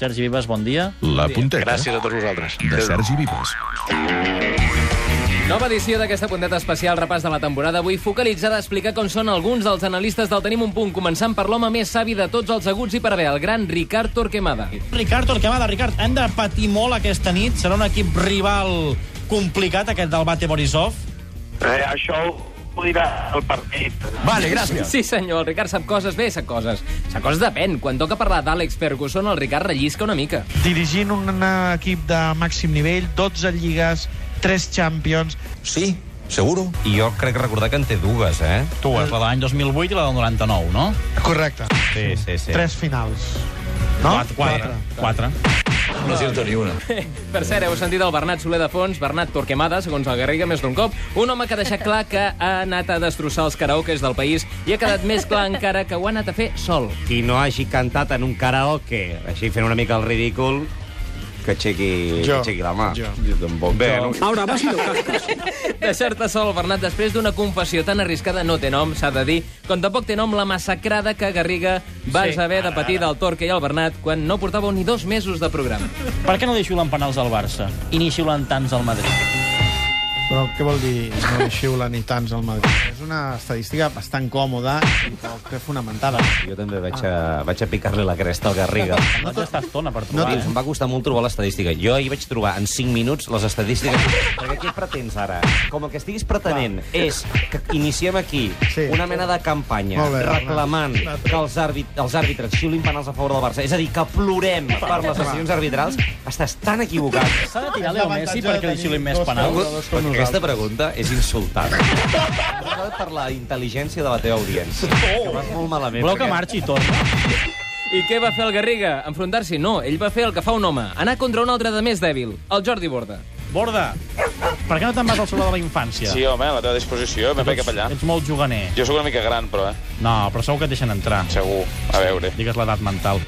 Sergi Vives, bon dia. La punteta Gràcies a tots vosaltres. de Sergi Vives. Nova edició d'aquesta punteta especial repàs de la temporada avui focalitzada a explicar com són alguns dels analistes del Tenim un punt, començant per l'home més savi de tots els aguts i per haver, el gran Ricard Torquemada. Ricard Torquemada, Ricard, hem de patir molt aquesta nit. Serà un equip rival complicat, aquest del Bate Borisov. Eh, això ho dirà el partit. Vale, gràcies. Sí, senyor, el Ricard sap coses, bé, sap coses. Sap coses depèn. Quan toca parlar d'Àlex Ferguson, el Ricard rellisca una mica. dirigint un eh, equip de màxim nivell, 12 lligues, 3 Champions, Sí, seguro. I jo crec recordar que en té dues, eh? Tu, la de l'any 2008 i la del 99, no? correcte, Sí, sí, sí. 3 finals. No? Quatre. Quatre. Per cert, heu sentit el Bernat Soler de fons, Bernat Torquemada, segons el Garriga, més d'un cop, un home que ha deixat clar que ha anat a destrossar els karaokes del país i ha quedat més clar encara que ho ha anat a fer sol. qui no hagi cantat en un karaoke, així fent una mica el ridícul, que aixequi, que aixequi la mà. Jo. Tampoc. Bé, no, Deixar-te sol, Bernat, després d'una confessió tan arriscada no té nom, s'ha de dir, com tampoc té nom la massacrada que Garriga vas sí, haver de patir del Torque i el Bernat quan no portàveu ni dos mesos de programa. Per què no deixulen penals al Barça i ni xiulen tants al Madrid? Però què vol dir no xiula ni tants al Madrid? És una estadística bastant còmoda i poc fonamentada. jo també vaig a, vaig a picar-li la cresta al Garriga. No té estar estona per No, trobar, tio, em eh? va costar molt trobar l'estadística. Jo ahir vaig trobar en 5 minuts les estadístiques. Perquè què pretens ara? Com el que estiguis pretenent és que iniciem aquí Sí. una mena de campanya Molt bé, reclamant que els, àrbit, els àrbitres xiulin penals a favor del Barça, és a dir, que plorem per les decisions arbitrals, estàs tan equivocat. S'ha de tirar Leo Messi perquè li xiulin més penals. Perquè aquesta pregunta és insultant. Insultant per la intel·ligència de la teva audiència. Que vas molt malament. Voleu que perquè- marxi i torni? I què va fer el Garriga? Enfrontar-s'hi? No, ell va fer el que fa un home, anar contra un altre de més dèbil, el Jordi Borda. Borda, per què no te'n vas al solar de la infància? sí, home, a la teva disposició, me'n vaig cap allà. Ets molt juganer. Jo sóc una mica gran, però, eh? No, però segur que et deixen entrar. Segur. A veure. Digues l'edat mental.